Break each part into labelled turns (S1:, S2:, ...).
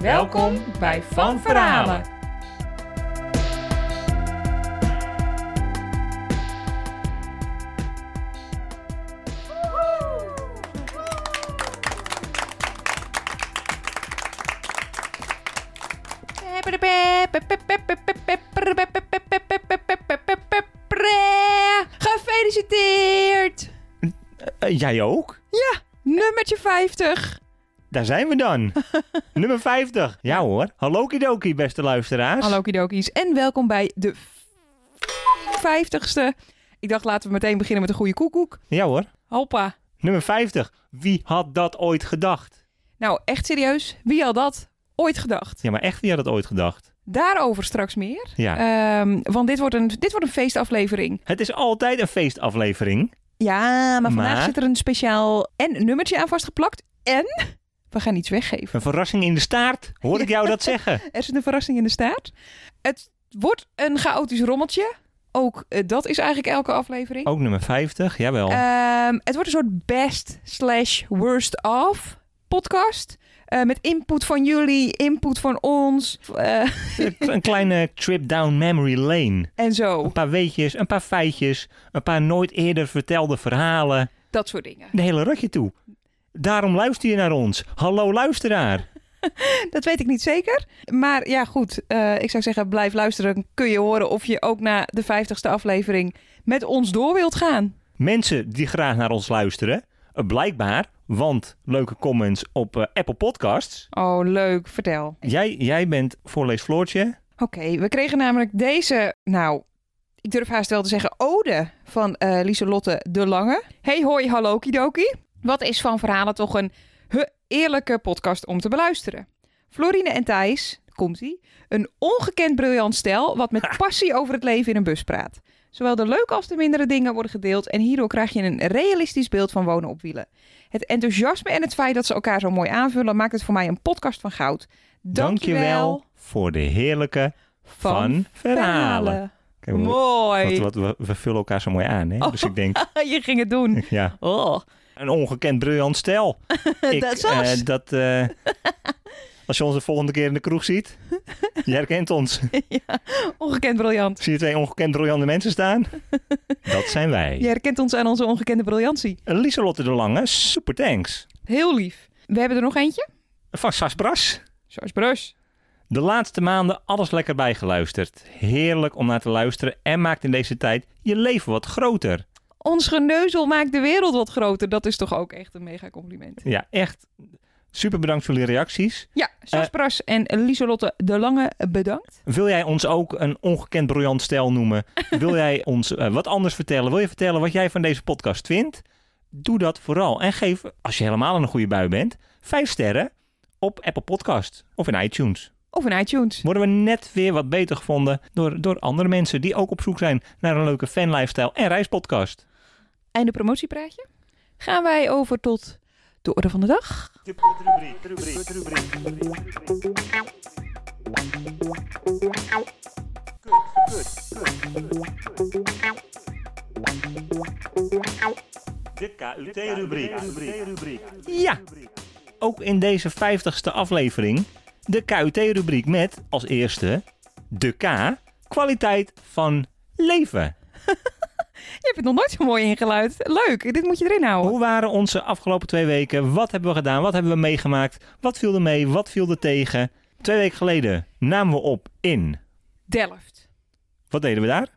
S1: Welkom bij Van Verhalen. Gefeliciteerd!
S2: Eh, jij ook?
S1: Nummertje 50.
S2: Daar zijn we dan. Nummer 50. Ja hoor. Hallo kidoki, beste luisteraars.
S1: Hallo Kidokies en welkom bij de 50ste. Ik dacht laten we meteen beginnen met een goede koekoek.
S2: Ja hoor.
S1: Hoppa.
S2: Nummer 50. Wie had dat ooit gedacht?
S1: Nou, echt serieus, wie had dat ooit gedacht?
S2: Ja, maar echt, wie had dat ooit gedacht?
S1: Daarover straks meer.
S2: Ja.
S1: Ehm, want dit wordt, een, dit wordt een feestaflevering.
S2: Het is altijd een feestaflevering.
S1: Ja, maar vandaag
S2: Maar?
S1: zit er een speciaal en nummertje aan vastgeplakt. En we gaan iets weggeven.
S2: Een verrassing in de staart. Hoor ik jou dat zeggen?
S1: Er zit een verrassing in de staart. Het wordt een chaotisch rommeltje. Ook eh, dat is eigenlijk elke aflevering.
S2: Ook nummer 50, jawel.
S1: Ehm, het wordt een soort best slash worst of podcast. Eh, met input van jullie, input van ons eh,
S2: een kleine trip down memory lane.
S1: en
S2: Een
S1: zo.
S2: paar weetjes, een paar feitjes, een paar nooit eerder vertelde verhalen.
S1: Dat soort dingen.
S2: De hele rotje toe. Daarom luister je naar ons. Hallo luisteraar.
S1: Dat weet ik niet zeker. Maar ja, goed. eh, ik zou zeggen, blijf luisteren. Kun je horen of je ook na de 50ste aflevering met ons door wilt gaan.
S2: Mensen die graag naar ons luisteren, eh, blijkbaar, want leuke comments op eh, Apple Podcasts.
S1: Oh, leuk. Vertel.
S2: Jij, jij bent voorlees Floortje.
S1: Oké, we kregen namelijk deze, nou, ik durf haast wel te zeggen, ode van eh Lieselotte de Lange. Hey hoi, hallo kidoki. Wat is Van Verhalen toch een he- eerlijke podcast om te beluisteren. Florine en Thijs, komt-ie, een ongekend briljant stel wat met passie over het leven in een bus praat. Zowel de leuke als de mindere dingen worden gedeeld en hierdoor krijg je een realistisch beeld van wonen op wielen. Het enthousiasme en het feit dat ze elkaar zo mooi aanvullen maakt het voor mij een podcast van goud. Dankjewel
S2: voor de heerlijke van, verhalen. Kijk, we-
S1: Mooi.
S2: wat, wat, we, we vullen elkaar zo mooi aan, hè? Dus ik denk,
S1: Je ging het doen.
S2: ja,
S1: Oh,
S2: een ongekend briljant stel. Ik,
S1: Dat is ons.
S2: eh, dat, eh, als je ons de volgende keer in de kroeg ziet, je herkent ons.
S1: ongekend briljant.
S2: Zie je twee ongekend briljante mensen staan? Dat zijn wij.
S1: Je herkent ons aan onze ongekende briljantie.
S2: Lieselotte de Lange, super thanks.
S1: Heel lief. We hebben er nog eentje.
S2: Van Sas Bras.
S1: Zoals Brus.
S2: De laatste maanden alles lekker bijgeluisterd. Heerlijk om naar te luisteren en maakt in deze tijd je leven wat groter.
S1: Ons geneuzel maakt de wereld wat groter. Dat is toch ook echt een mega compliment.
S2: Ja, echt. Super bedankt voor jullie reacties.
S1: Ja, Sas
S2: Eh.
S1: Bras en Lieselotte de Lange, bedankt.
S2: Wil jij ons ook een ongekend briljant stijl noemen? Wil jij ons eh, wat anders vertellen? Wil je vertellen wat jij van deze podcast vindt? Doe dat vooral. En geef, als je helemaal in een goede bui bent, vijf sterren op Apple Podcast of in iTunes.
S1: Of in iTunes.
S2: Worden we net weer wat beter gevonden door, door andere mensen die ook op zoek zijn naar een leuke fanlifestyle en reispodcast.
S1: Einde promotiepraatje. Gaan wij over tot de orde van de dag.
S2: De KUT-rubriek. Ja, ook in deze 50ste aflevering de KUT-rubriek met als eerste de K, kwaliteit van leven.
S1: Je hebt het nog nooit zo mooi ingeluid. Leuk, dit moet je erin houden.
S2: Hoe waren onze afgelopen twee weken? Wat hebben we gedaan? Wat hebben we meegemaakt? Wat viel er mee? Wat viel er tegen? Twee weken geleden namen we op in.
S1: Delft.
S2: Wat deden we daar?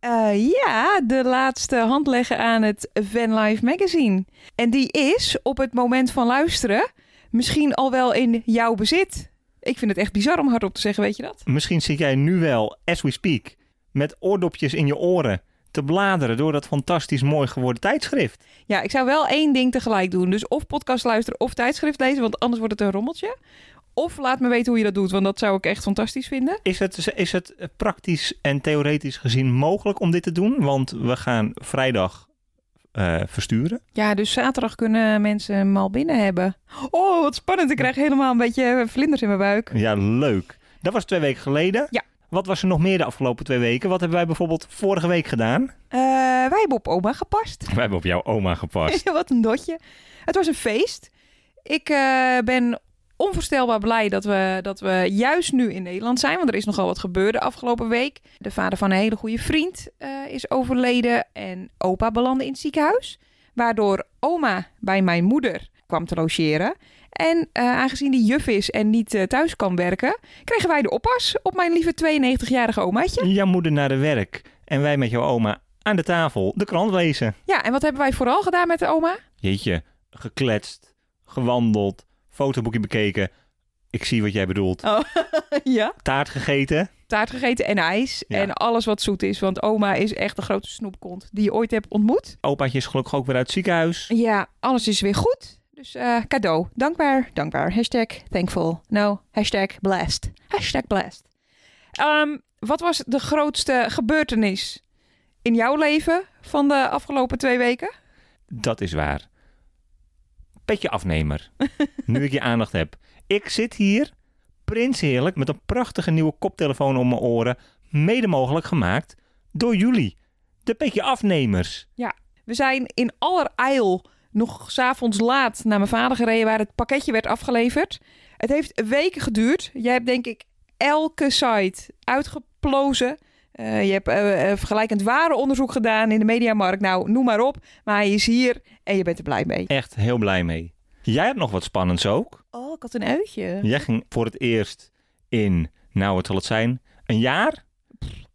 S1: Eh, ja, de laatste hand leggen aan het Van Life magazine. En die is op het moment van luisteren misschien al wel in jouw bezit. Ik vind het echt bizar om hardop te zeggen, weet je dat?
S2: Misschien zit jij nu wel, as we speak, met oordopjes in je oren te bladeren door dat fantastisch mooi geworden tijdschrift.
S1: Ja, ik zou wel één ding tegelijk doen. Dus of podcast luisteren of tijdschrift lezen, want anders wordt het een rommeltje. Of laat me weten hoe je dat doet, want dat zou ik echt fantastisch vinden.
S2: Is het, is het praktisch en theoretisch gezien mogelijk om dit te doen? Want we gaan vrijdag eh, versturen.
S1: Ja, dus zaterdag kunnen mensen hem al binnen hebben. Oh, wat spannend. Ik krijg helemaal een beetje vlinders in mijn buik.
S2: Ja, leuk. Dat was twee weken geleden.
S1: Ja.
S2: Wat was er nog meer de afgelopen twee weken? Wat hebben wij bijvoorbeeld vorige week gedaan?
S1: Eh, wij hebben op oma gepast.
S2: Wij hebben op jouw oma gepast.
S1: Wat een dotje. Het was een feest. Ik eh, ben onvoorstelbaar blij dat we, dat we juist nu in Nederland zijn. Want er is nogal wat gebeurd de afgelopen week. De vader van een hele goede vriend eh, is overleden. En opa belandde in het ziekenhuis. Waardoor oma bij mijn moeder kwam te logeren. En eh, aangezien die juf is en niet eh, thuis kan werken, kregen wij de oppas op mijn lieve 92-jarige omaatje.
S2: Jouw moeder naar de werk en wij met jouw oma aan de tafel de krant lezen.
S1: Ja, en wat hebben wij vooral gedaan met de oma?
S2: Jeetje, gekletst, gewandeld, fotoboekje bekeken. Ik zie wat jij bedoelt.
S1: ja.
S2: Taart gegeten.
S1: taart gegeten en ijs.
S2: Ja.
S1: En alles wat zoet is. Want oma is echt de grote snoepkont die je ooit hebt ontmoet.
S2: Opaatje is gelukkig ook weer uit het ziekenhuis.
S1: Ja, alles is weer goed. Dus eh, cadeau. Dankbaar, dankbaar. Hashtag thankful. No, hashtag blessed. Hashtag blessed. Ehm, wat was de grootste gebeurtenis in jouw leven van de afgelopen twee weken?
S2: Dat is waar. Petje afnemer. nu ik je aandacht heb. Ik zit hier, prins heerlijk, met een prachtige nieuwe koptelefoon om mijn oren. Mede mogelijk gemaakt door jullie. De petje afnemers.
S1: We zijn in allerijl nog s'avonds laat naar mijn vader gereden waar het pakketje werd afgeleverd. Het heeft weken geduurd. Jij hebt denk ik elke site uitgeplozen. Eh, je hebt eh, eh, vergelijkend ware onderzoek gedaan in de mediamarkt. Nou, noem maar op. Maar hij is hier en je bent er blij mee.
S2: Echt heel blij mee. Jij hebt nog wat spannends ook.
S1: Oh, ik had een uitje.
S2: Jij ging voor het eerst in, nou wat zal het zijn, een jaar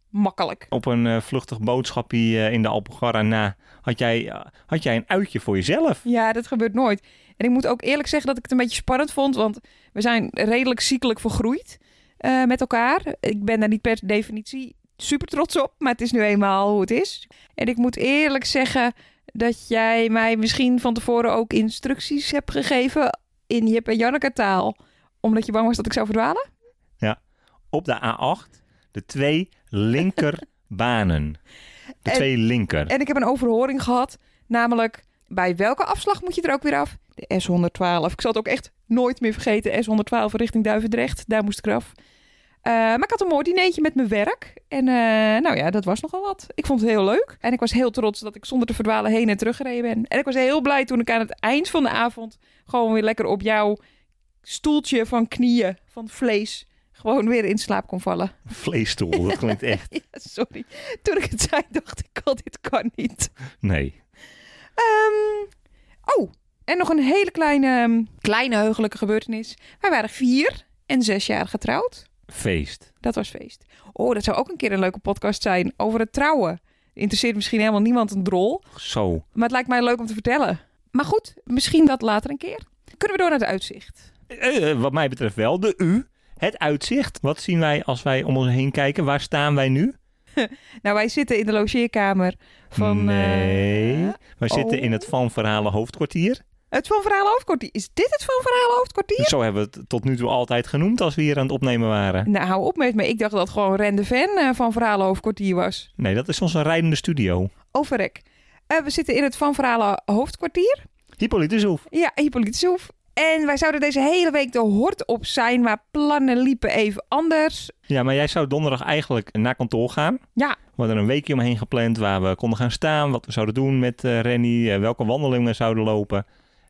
S1: Makkelijk.
S2: op een eh, vluchtig boodschapje eh, in de Alpugarra na. Had jij, eh, had jij een uitje voor jezelf?
S1: Ja, dat gebeurt nooit. En ik moet ook eerlijk zeggen dat ik het een beetje spannend vond, want we zijn redelijk ziekelijk vergroeid eh, met elkaar. Ik ben daar niet per definitie super trots op, maar het is nu eenmaal hoe het is. En ik moet eerlijk zeggen dat jij mij misschien van tevoren ook instructies hebt gegeven in Jip en Janneke taal, omdat je bang was dat ik zou verdwalen.
S2: Op de A8, de twee linkerbanen. De
S1: En-
S2: twee linker.
S1: En ik heb een overhoring gehad, namelijk bij welke afslag moet je er ook weer af? De S112. Ik zal het ook echt nooit meer vergeten. S112 richting Duivendrecht, daar moest ik eraf. Eh, maar ik had een mooi dineetje met mijn werk. En eh, nou ja, dat was nogal wat. Ik vond het heel leuk. En ik was heel trots dat ik zonder te verdwalen heen en terug gereden ben. En ik was heel blij toen ik aan het eind van de avond... gewoon weer lekker op jouw stoeltje van knieën, van vlees... gewoon weer in slaap kon vallen.
S2: Vleesstoel, dat klinkt echt.
S1: Ja, sorry. Toen ik het zei, dacht ik al, dit kan niet.
S2: Nee.
S1: Ehm, oh, en nog een hele kleine, ehm, kleine heugelijke gebeurtenis. Wij waren vier en zes jaar getrouwd.
S2: Feest.
S1: Dat was feest. Oh, dat zou ook een keer een leuke podcast zijn over het trouwen. Interesseert misschien helemaal niemand een drol,
S2: Zo.
S1: maar het lijkt mij leuk om te vertellen. Maar goed, misschien dat later een keer. Kunnen we door naar het uitzicht?
S2: Eh, eh, wat mij betreft wel, de U. Het uitzicht. Wat zien wij als wij om ons heen kijken? Waar staan wij nu?
S1: Nou, wij zitten in de logeerkamer van... eh,
S2: nee. wij
S1: oh.
S2: zitten in het Van Verhalen hoofdkwartier.
S1: het Van Verhalen Hoofdkwartier. Is dit het Van Verhalen Hoofdkwartier?
S2: Zo hebben we het tot nu toe altijd genoemd als we hier aan het opnemen waren.
S1: Nou, hou op met me. Ik dacht dat het gewoon Rende Van eh, van Verhalen Hoofdkwartier was.
S2: Nee, dat is onze rijdende studio.
S1: Overrek. Eh, we zitten in het Van Verhalen hoofdkwartier.
S2: Hippolytus Hoef.
S1: Ja, Hippolytus Hoef. En wij zouden deze hele week de hort op zijn, maar plannen liepen even anders.
S2: Ja, maar jij zou donderdag eigenlijk naar kantoor gaan.
S1: Ja.
S2: We hadden een weekje omheen gepland waar we konden gaan staan, wat we zouden doen met eh, Rennie, eh, welke wandelingen we zouden lopen.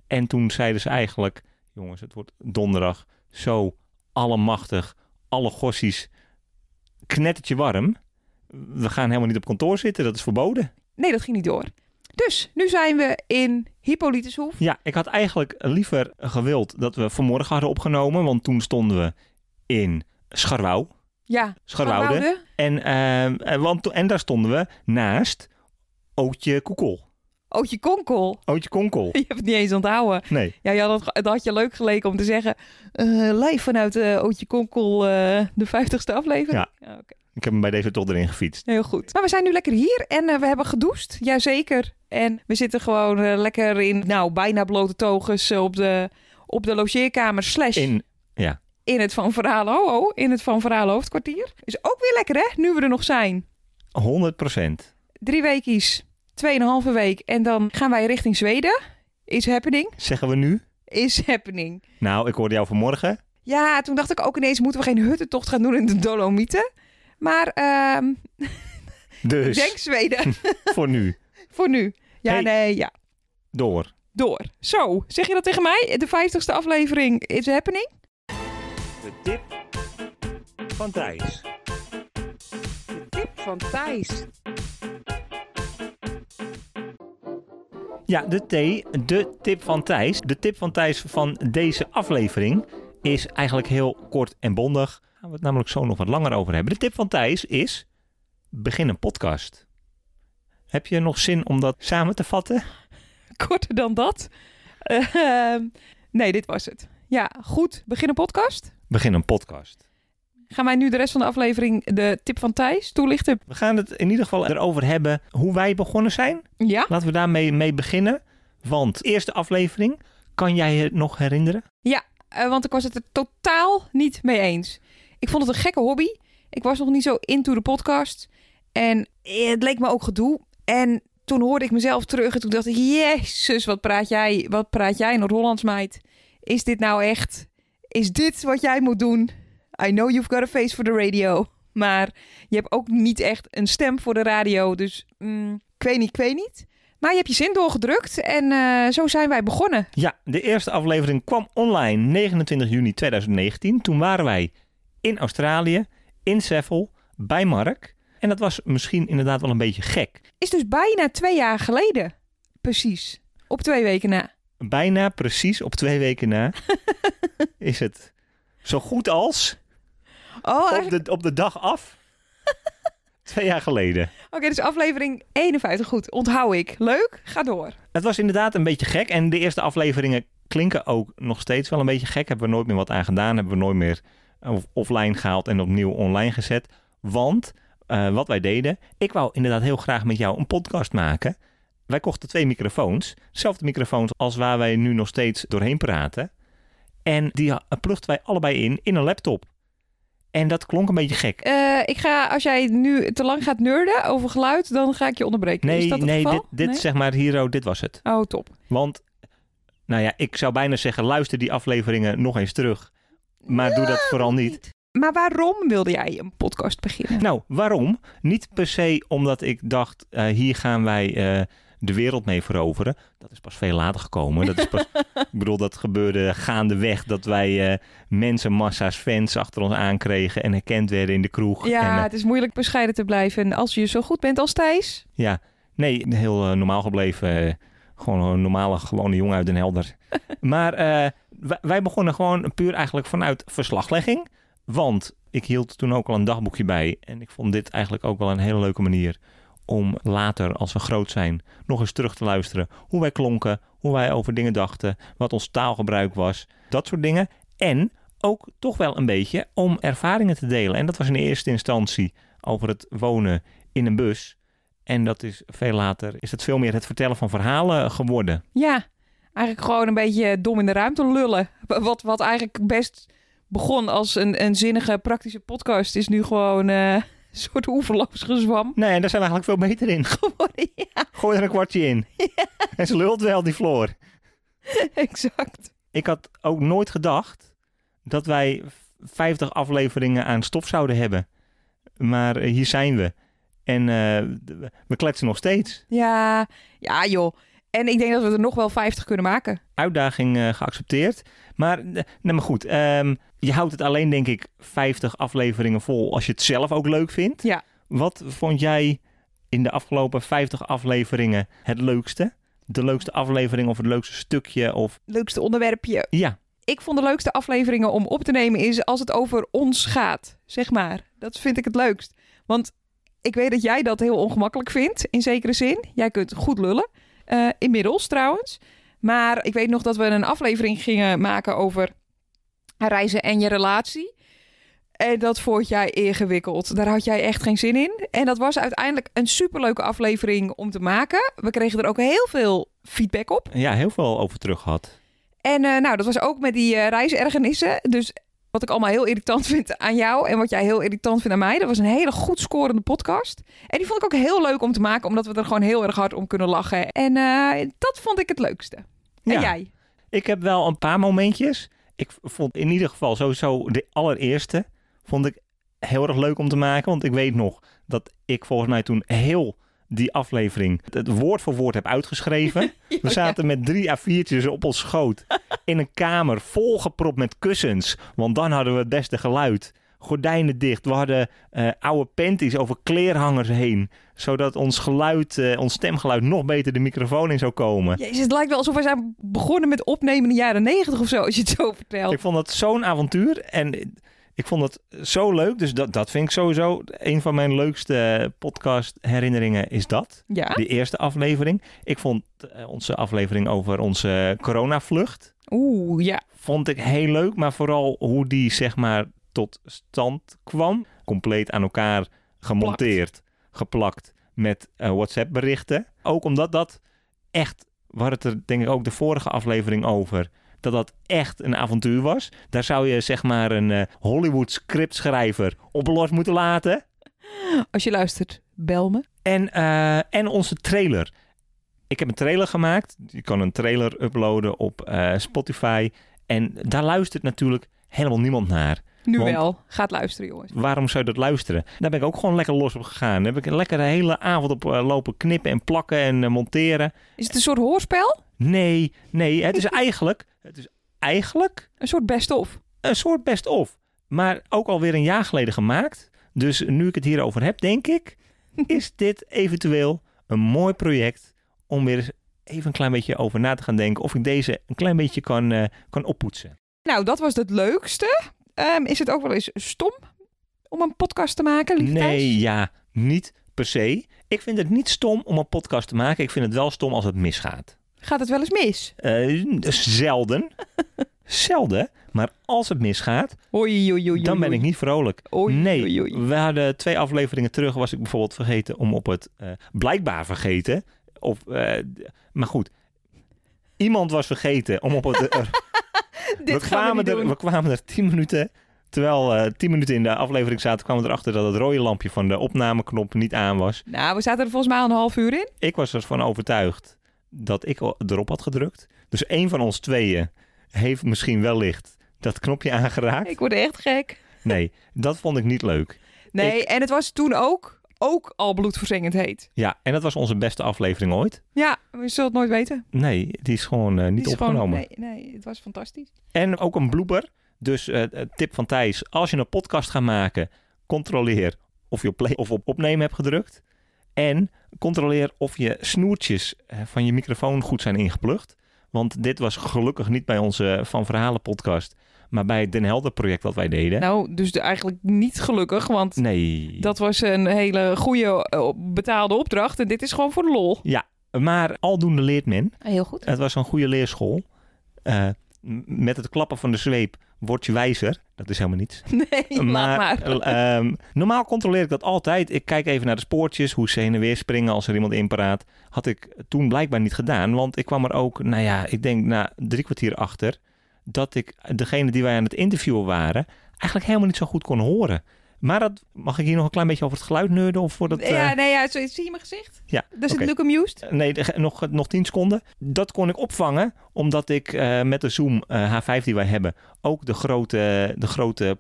S2: En toen zeiden ze eigenlijk, jongens, het wordt donderdag zo allemachtig, alle gossies, knettertje warm. We gaan helemaal niet op kantoor zitten, dat is verboden.
S1: Nee, dat ging niet door. Dus nu zijn we in Hippolytus Hoef.
S2: Ja, ik had eigenlijk liever gewild dat we vanmorgen hadden opgenomen, want toen stonden we in Scharwouw.
S1: Ja,
S2: Scharwoude.
S1: Scharwoude.
S2: En, ehm, eh, want, to- en daar stonden we naast Ootje Koekel.
S1: Ootje Konkel.
S2: Ootje Konkel.
S1: Je hebt het niet eens onthouden.
S2: Nee.
S1: Ja, je had het, het had je leuk geleken om te zeggen... eh live vanuit eh, Ootje Konkel, eh, de vijftigste aflevering. Ja. Oké,
S2: Ik heb hem bij deze toch erin gefietst.
S1: heel goed. Maar we zijn nu lekker hier en eh, we hebben gedoucht. Jazeker. En we zitten gewoon eh,
S2: Dus-
S1: lekker in, nou, bijna blote toges eh, op de, op de logeerkamer slash
S2: In, ja,
S1: in het Van Verhalen ho, ho, in het Van Verhalen hoofdkwartier. Is ook weer lekker, hè? Nu we er nog zijn.
S2: 100 procent.
S1: Drie weekies, tweeënhalve week. En dan gaan wij richting Zweden. Is happening.
S2: Zeggen we nu?
S1: Is happening.
S2: Nou, ik hoorde jou vanmorgen.
S1: Ja, toen dacht ik ook ineens, moeten we geen huttentocht gaan doen in de Dolomieten? Maar ehm
S2: Dus,
S1: denk Zweden
S2: voor nu.
S1: voor nu. Ja,
S2: Hey.
S1: nee, ja.
S2: Door.
S1: Door. Zo, zeg je dat tegen mij? De vijftigste aflevering is happening.
S2: De tip van Thijs.
S1: Tip van Thijs.
S2: Ja, de T, de tip van Thijs. De tip van Thijs van deze aflevering is eigenlijk heel kort en bondig. Daar gaan we het namelijk zo nog wat langer over hebben. De tip van Thijs is, begin een podcast. Heb je nog zin om dat samen te vatten?
S1: Korter dan dat. Ehm, nee, dit was het. Ja, goed. Begin een podcast.
S2: Begin een podcast.
S1: Gaan wij nu de rest van de aflevering de tip van Thijs toelichten?
S2: We gaan het in ieder geval erover hebben hoe wij begonnen zijn.
S1: Ja?
S2: Laten we daarmee mee beginnen. Want eerste aflevering, kan jij het nog herinneren?
S1: Eh, want ik was het er totaal niet mee eens. Ik vond het een gekke hobby. Ik was nog niet zo into de podcast. En eh, het leek me ook gedoe. En toen hoorde ik mezelf terug en toen dacht ik... Jezus, wat praat jij, wat praat jij Noord-Hollands meid. Is dit nou echt? Is dit wat jij moet doen? I know you've got a face for the radio. Maar je hebt ook niet echt een stem voor de radio. Dus mm, ik weet niet, ik weet niet. Maar je hebt je zin doorgedrukt en eh, zo zijn wij begonnen.
S2: Ja, de eerste aflevering kwam online 29 juni 2019. Toen waren wij in Australië, in Seffel, bij Mark. En dat was misschien inderdaad wel een beetje gek.
S1: Is dus bijna twee jaar geleden. Precies. Op twee weken na.
S2: Bijna precies op twee weken na is het zo goed als
S1: Oh, eigenlijk-
S2: op de, op de dag af. Twee jaar geleden.
S1: oké, dus aflevering 51. Goed, onthoud ik. Leuk, ga door.
S2: Het was inderdaad een beetje gek. En de eerste afleveringen klinken ook nog steeds wel een beetje gek. Hebben we nooit meer wat aan gedaan. Hebben we nooit meer off- offline gehaald en opnieuw online gezet. Want eh, wat wij deden, ik wou inderdaad heel graag met jou een podcast maken. Wij kochten twee microfoons. Dezelfde microfoons als waar wij nu nog steeds doorheen praten. En die ha- pluchten wij allebei in, in een laptop. En dat klonk een beetje gek.
S1: Eh, ik ga, als jij nu te lang gaat nerden over geluid, dan ga ik je onderbreken.
S2: Nee,
S1: Is dat het
S2: nee,
S1: geval?
S2: dit, dit
S1: Nee?
S2: zeg maar, Hero, dit was het.
S1: Oh, top.
S2: Want, nou ja, ik zou bijna zeggen, luister die afleveringen nog eens terug. Maar doe dat vooral niet.
S1: Maar waarom wilde jij een podcast beginnen?
S2: Nou, waarom? Niet per se omdat ik dacht, eh, hier gaan wij eh, de wereld mee veroveren. Dat is pas veel later gekomen. Dat is pas, ik bedoel, dat gebeurde gaandeweg dat wij eh mensen, massa's, fans achter ons aankregen en herkend werden in de kroeg. En,
S1: ja,
S2: eh,
S1: het is moeilijk bescheiden te blijven. En als je zo goed bent als Thijs.
S2: Ja, nee, heel eh, normaal gebleven. eh, gewoon een normale, gewone jongen uit Den Helder. maar eh, wij- wij begonnen gewoon puur eigenlijk vanuit verslaglegging. Want ik hield toen ook al een dagboekje bij. En ik vond dit eigenlijk ook wel een hele leuke manier om later, als we groot zijn, nog eens terug te luisteren. Hoe wij klonken, hoe wij over dingen dachten, wat ons taalgebruik was. Dat soort dingen. En ook toch wel een beetje om ervaringen te delen. En dat was in eerste instantie over het wonen in een bus. En dat is veel later, is het veel meer het vertellen van verhalen geworden.
S1: Ja, eigenlijk gewoon een beetje dom in de ruimte lullen. Wat, wat eigenlijk best begon als een, een zinnige, praktische podcast, is nu gewoon eh, een soort oeverloos gezwam
S2: Nee, en daar zijn we eigenlijk veel beter in.
S1: geworden. Ja,
S2: Gooi er een kwartje in. En ze lult wel, die Floor.
S1: exact.
S2: Ik had ook nooit gedacht dat wij 50 afleveringen aan stof zouden hebben. Maar eh, hier zijn we. En eh, d- we kletsen nog steeds.
S1: Ja, ja joh. En ik denk dat we er nog wel 50 kunnen maken.
S2: Uitdaging eh, geaccepteerd. Maar, eh, nee, maar goed, ehm, je houdt het alleen denk ik 50 afleveringen vol als je het zelf ook leuk vindt.
S1: Ja.
S2: Wat vond jij in de afgelopen 50 afleveringen het leukste? De leukste aflevering of het leukste stukje? Of
S1: Leukste onderwerpje.
S2: ja,
S1: Ik vond de leukste afleveringen om op te nemen is als het over ons gaat, zeg maar. Dat vind ik het leukst. Want ik weet dat jij dat heel ongemakkelijk vindt, in zekere zin. Jij kunt goed lullen, eh, inmiddels trouwens. Maar ik weet nog dat we een aflevering gingen maken over reizen en je relatie. En dat vond jij ingewikkeld. Daar had jij echt geen zin in. En dat was uiteindelijk een superleuke aflevering om te maken. We kregen er ook heel veel feedback op.
S2: ja, heel veel over terug gehad.
S1: En eh, nou, dat was ook met die eh reisergenissen. Dus Wat ik allemaal heel irritant vind aan jou en wat jij heel irritant vindt aan mij. Dat was een hele goed scorende podcast. En die vond ik ook heel leuk om te maken, omdat we er gewoon heel erg hard om kunnen lachen. En eh, dat vond ik het leukste. En
S2: Ja.
S1: jij?
S2: Ik heb wel een paar momentjes. Ik vond in ieder geval sowieso de allereerste vond ik heel erg leuk om te maken. Want ik weet nog dat ik volgens mij toen heel die aflevering het woord voor woord heb uitgeschreven. We zaten met drie A4'tjes op ons schoot in een kamer volgepropt met kussens. Want dan hadden we het beste geluid. Gordijnen dicht. We hadden eh, oude panties over kleerhangers heen. Zodat ons geluid, eh, ons stemgeluid nog beter de microfoon in zou komen.
S1: Jezus, het lijkt wel alsof we zijn begonnen met opnemen in de jaren negentig of zo, als je het zo vertelt.
S2: Ik vond dat zo'n avontuur en ik vond dat zo leuk. Dus dat, dat vind ik sowieso een van mijn leukste podcast herinneringen is dat.
S1: Ja?
S2: Die eerste aflevering. Ik vond eh, onze aflevering over onze coronavlucht
S1: Oeh, ja.
S2: vond ik heel leuk. Maar vooral hoe die zeg maar tot stand kwam. Compleet aan elkaar gemonteerd, geplakt met eh, WhatsApp berichten. Ook omdat dat echt, we hadden het er denk ik ook de vorige aflevering over, dat dat echt een avontuur was. Daar zou je zeg maar een eh, Hollywood scriptschrijver op los moeten laten.
S1: Als je luistert, bel me.
S2: En, eh, en onze trailer. Ik heb een trailer gemaakt. Je kan een trailer uploaden op eh, Spotify. En daar luistert natuurlijk helemaal niemand naar.
S1: Nu
S2: Want-
S1: wel. Gaat luisteren, jongens.
S2: Waarom zou je dat luisteren? Daar ben ik ook gewoon lekker los op gegaan. Daar heb ik lekker de hele avond op eh, lopen knippen en plakken en eh, monteren.
S1: Is het een soort hoorspel?
S2: Nee, nee. Het is eigenlijk, het is eigenlijk
S1: Een soort best-of?
S2: een soort best-of. Maar ook alweer een jaar geleden gemaakt. Dus nu ik het hierover heb, denk ik, is dit eventueel een mooi project om weer eens even een klein beetje over na te gaan denken. Of ik deze een klein beetje kan, eh, kan oppoetsen.
S1: Nou, dat was het leukste. Ehm, is het ook wel eens stom om een podcast te maken, lieve
S2: Nee,
S1: Thijs?
S2: ja, niet per se. Ik vind het niet stom om een podcast te maken. Ik vind het wel stom als het misgaat.
S1: Gaat het wel eens mis?
S2: Eh, zelden. Zelden. Maar als het misgaat,
S1: Oei, oei, oei.
S2: dan ben
S1: oei.
S2: ik niet vrolijk.
S1: Oei,
S2: nee,
S1: oei, oei.
S2: we hadden twee afleveringen terug. Was ik bijvoorbeeld vergeten om op het. eh, blijkbaar vergeten. Of, eh, d- maar goed. Iemand was vergeten om op het. eh, we,
S1: Dit gaan we
S2: kwamen
S1: niet
S2: er,
S1: doen.
S2: we kwamen er tien minuten. Terwijl eh tien minuten in de aflevering zaten, kwamen we erachter dat het rode lampje van de opnameknop niet aan was.
S1: Nou, we zaten er volgens mij al een half uur in.
S2: Ik was ervan overtuigd dat ik al- erop had gedrukt. Dus één van ons tweeën heeft misschien wellicht dat knopje aangeraakt.
S1: Ik word echt gek.
S2: Nee, dat vond ik niet leuk.
S1: Nee, en het was toen ook, ook al bloedverzengend heet.
S2: Ja, en dat was onze beste aflevering ooit.
S1: Ja, we zullen het nooit weten.
S2: Nee, die is gewoon eh, niet
S1: Het is gewoon-
S2: opgenomen.
S1: nee, nee, het was fantastisch.
S2: En ook een blooper. Dus eh, eh, tip van Thijs, als je een podcast gaat maken, controleer of je op play of op opnemen hebt gedrukt. En controleer of je snoertjes eh, van je microfoon goed zijn ingeplucht. Want dit was gelukkig niet bij onze Van Verhalen podcast, maar bij het Den Helder project wat wij deden.
S1: Nou, dus de- eigenlijk niet gelukkig, want
S2: nee.
S1: dat was een hele goede eh, betaalde opdracht. En dit is gewoon voor de lol.
S2: Maar aldoende leert men.
S1: Heel goed.
S2: Het was een goede leerschool. Eh, m- met het klappen van de zweep word je wijzer. Dat is helemaal niets.
S1: Nee, laat maar.
S2: eh, ehm, normaal controleer ik dat altijd. Ik kijk even naar de spoortjes, hoe ze heen en weer springen als er iemand inpraat. Had ik toen blijkbaar niet gedaan, want ik kwam er ook, nou ja, ik denk na drie kwartier achter, dat ik degene die wij aan het interviewen waren, eigenlijk helemaal niet zo goed kon horen. Maar dat, mag ik hier nog een klein beetje over het geluid neurden? Of voor dat, eh,
S1: Ja, nee, ja, zo- zie je mijn gezicht?
S2: Ja,
S1: Daar zit
S2: oké.
S1: Luke Amused.
S2: Nee, de- nog, nog 10 seconden. Dat kon ik opvangen, omdat ik eh, met de Zoom eh, H5 die wij hebben... ook de grote, de grote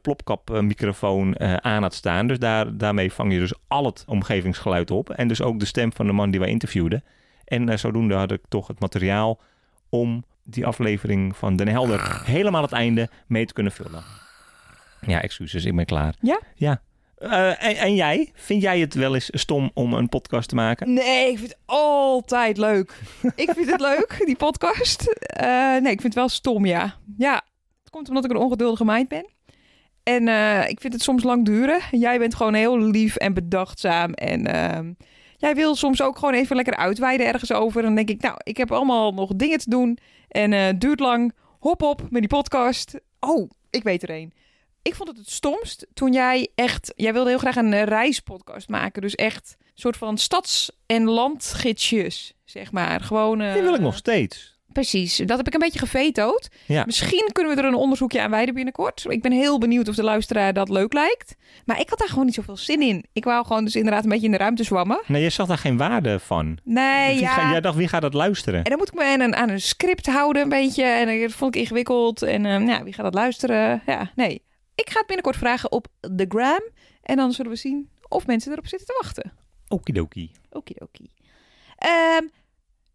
S2: plopkap-microfoon aan had staan. Dus daar, daarmee vang je dus al het omgevingsgeluid op. En dus ook de stem van de man die wij interviewden. En eh, zodoende had ik toch het materiaal om die aflevering van Den Helder... helemaal het einde mee te kunnen vullen. Ja, excuses, ik ben klaar.
S1: Ja?
S2: Ja. Eh, en, en jij? Vind jij het wel eens stom om een podcast te maken?
S1: Nee, ik vind het altijd leuk. ik vind het leuk, die podcast. Eh, nee, ik vind het wel stom, ja. Ja, het komt omdat ik een ongeduldige meid ben. En eh, ik vind het soms lang duren. Jij bent gewoon heel lief en bedachtzaam. En ehm, jij wil soms ook gewoon even lekker uitweiden ergens over. Dan denk ik, nou, ik heb allemaal nog dingen te doen. En eh, het duurt lang. Hop op met die podcast. Oh, ik weet er een. Ik vond het het stomst toen jij echt... Jij wilde heel graag een eh, reispodcast maken. Dus echt een soort van stads- en landgidsjes, zeg maar. Gewoon... eh,
S2: Die wil ik nog steeds.
S1: Precies, dat heb ik een beetje gevetood.
S2: Ja.
S1: Misschien kunnen we er een onderzoekje aan wijden binnenkort. Ik ben heel benieuwd of de luisteraar dat leuk lijkt. Maar ik had daar gewoon niet zoveel zin in. Ik wou gewoon dus inderdaad een beetje in de ruimte zwammen.
S2: Nee, je zag daar geen waarde van. Dus
S1: Nee,
S2: Wie ga-
S1: ja.
S2: jij dacht, wie gaat dat luisteren?
S1: En dan moet ik me aan een, aan een script houden een beetje. En dat vond ik ingewikkeld. En eh, nou, wie gaat dat luisteren? Ja, nee. Ik ga het binnenkort vragen op de gram. En dan zullen we zien of mensen erop zitten te wachten.
S2: Okidoki.
S1: Okidoki. Ehm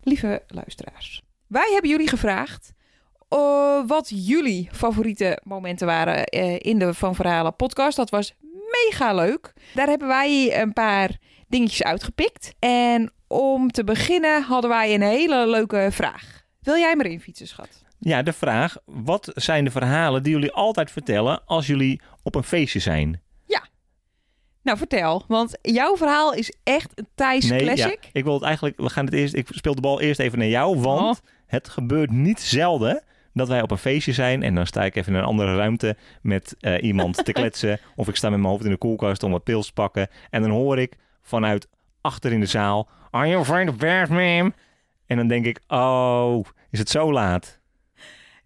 S1: lieve luisteraars, wij hebben jullie gevraagd eh, wat jullie favoriete momenten waren eh, in de Van Verhalen podcast. Dat was mega leuk. Daar hebben wij een paar dingetjes uitgepikt. En om te beginnen hadden wij een hele leuke vraag. Wil jij maar in fietsen, schat?
S2: Ja, de vraag, wat zijn de verhalen die jullie altijd vertellen als jullie op een feestje zijn?
S1: Nou, vertel. Want jouw verhaal is echt een Thijs
S2: ja,
S1: classic.
S2: ik wil het eigenlijk, we gaan het eerst, ik speel de bal eerst even naar jou, want
S1: Oh.
S2: het gebeurt niet zelden dat wij op een feestje zijn en dan sta ik even in een andere ruimte met eh, iemand te kletsen of ik sta met mijn hoofd in de koelkast om wat pils te pakken en dan hoor ik vanuit achter in de zaal, are you afraid of bears, ma'am? En dan denk ik, oh, is het zo laat?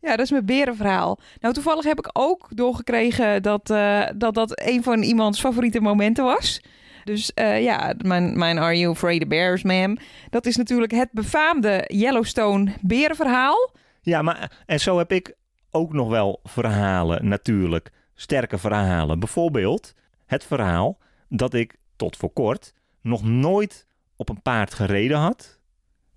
S1: Ja, dat is mijn berenverhaal. Nou, toevallig heb ik ook doorgekregen dat eh, dat, dat een van iemands favoriete momenten was. Dus eh, ja, mijn, mijn Are You Afraid of Bears, ma'am? Dat is natuurlijk het befaamde Yellowstone berenverhaal.
S2: Ja, maar en zo heb ik ook nog wel verhalen, natuurlijk. Sterke verhalen. Bijvoorbeeld het verhaal dat ik tot voor kort nog nooit op een paard gereden had,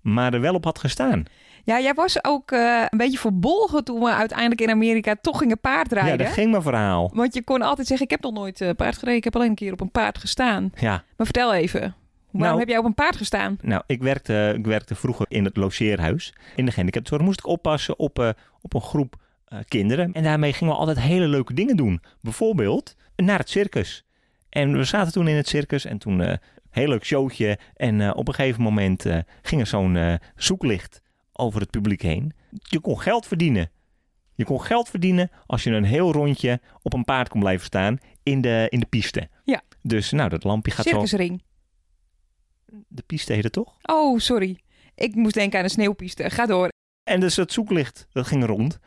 S2: maar er wel op had gestaan.
S1: Ja, jij was ook eh, een beetje verbolgen toen we uiteindelijk in Amerika toch gingen
S2: Ja,
S1: paardrijden.
S2: dat ging mijn verhaal.
S1: Want je kon altijd zeggen, ik heb nog nooit eh, paard gereden. Ik heb alleen een keer op een paard gestaan.
S2: Ja,
S1: Maar vertel even, waarom
S2: Nou-
S1: heb jij op een paard gestaan?
S2: nou, ik werkte, ik werkte vroeger in het logeerhuis. In de gehandicaptenzorg moest ik oppassen op, eh, op een groep eh, kinderen. En daarmee gingen we altijd hele leuke dingen doen. Bijvoorbeeld naar het circus. En we zaten toen in het circus en toen eh, een heel leuk showtje. En eh, op een gegeven moment eh, ging er zo'n eh, zoeklicht over het publiek heen. Je kon geld verdienen. Je kon geld verdienen als je een heel rondje op een paard kon blijven staan in de, in de piste.
S1: Ja.
S2: Dus nou, dat lampje gaat zo...
S1: Circusring.
S2: De piste heette toch?
S1: Oh, sorry. Ik moest denken aan een sneeuwpiste. Ga door.
S2: En dus dat zoeklicht, dat ging rond.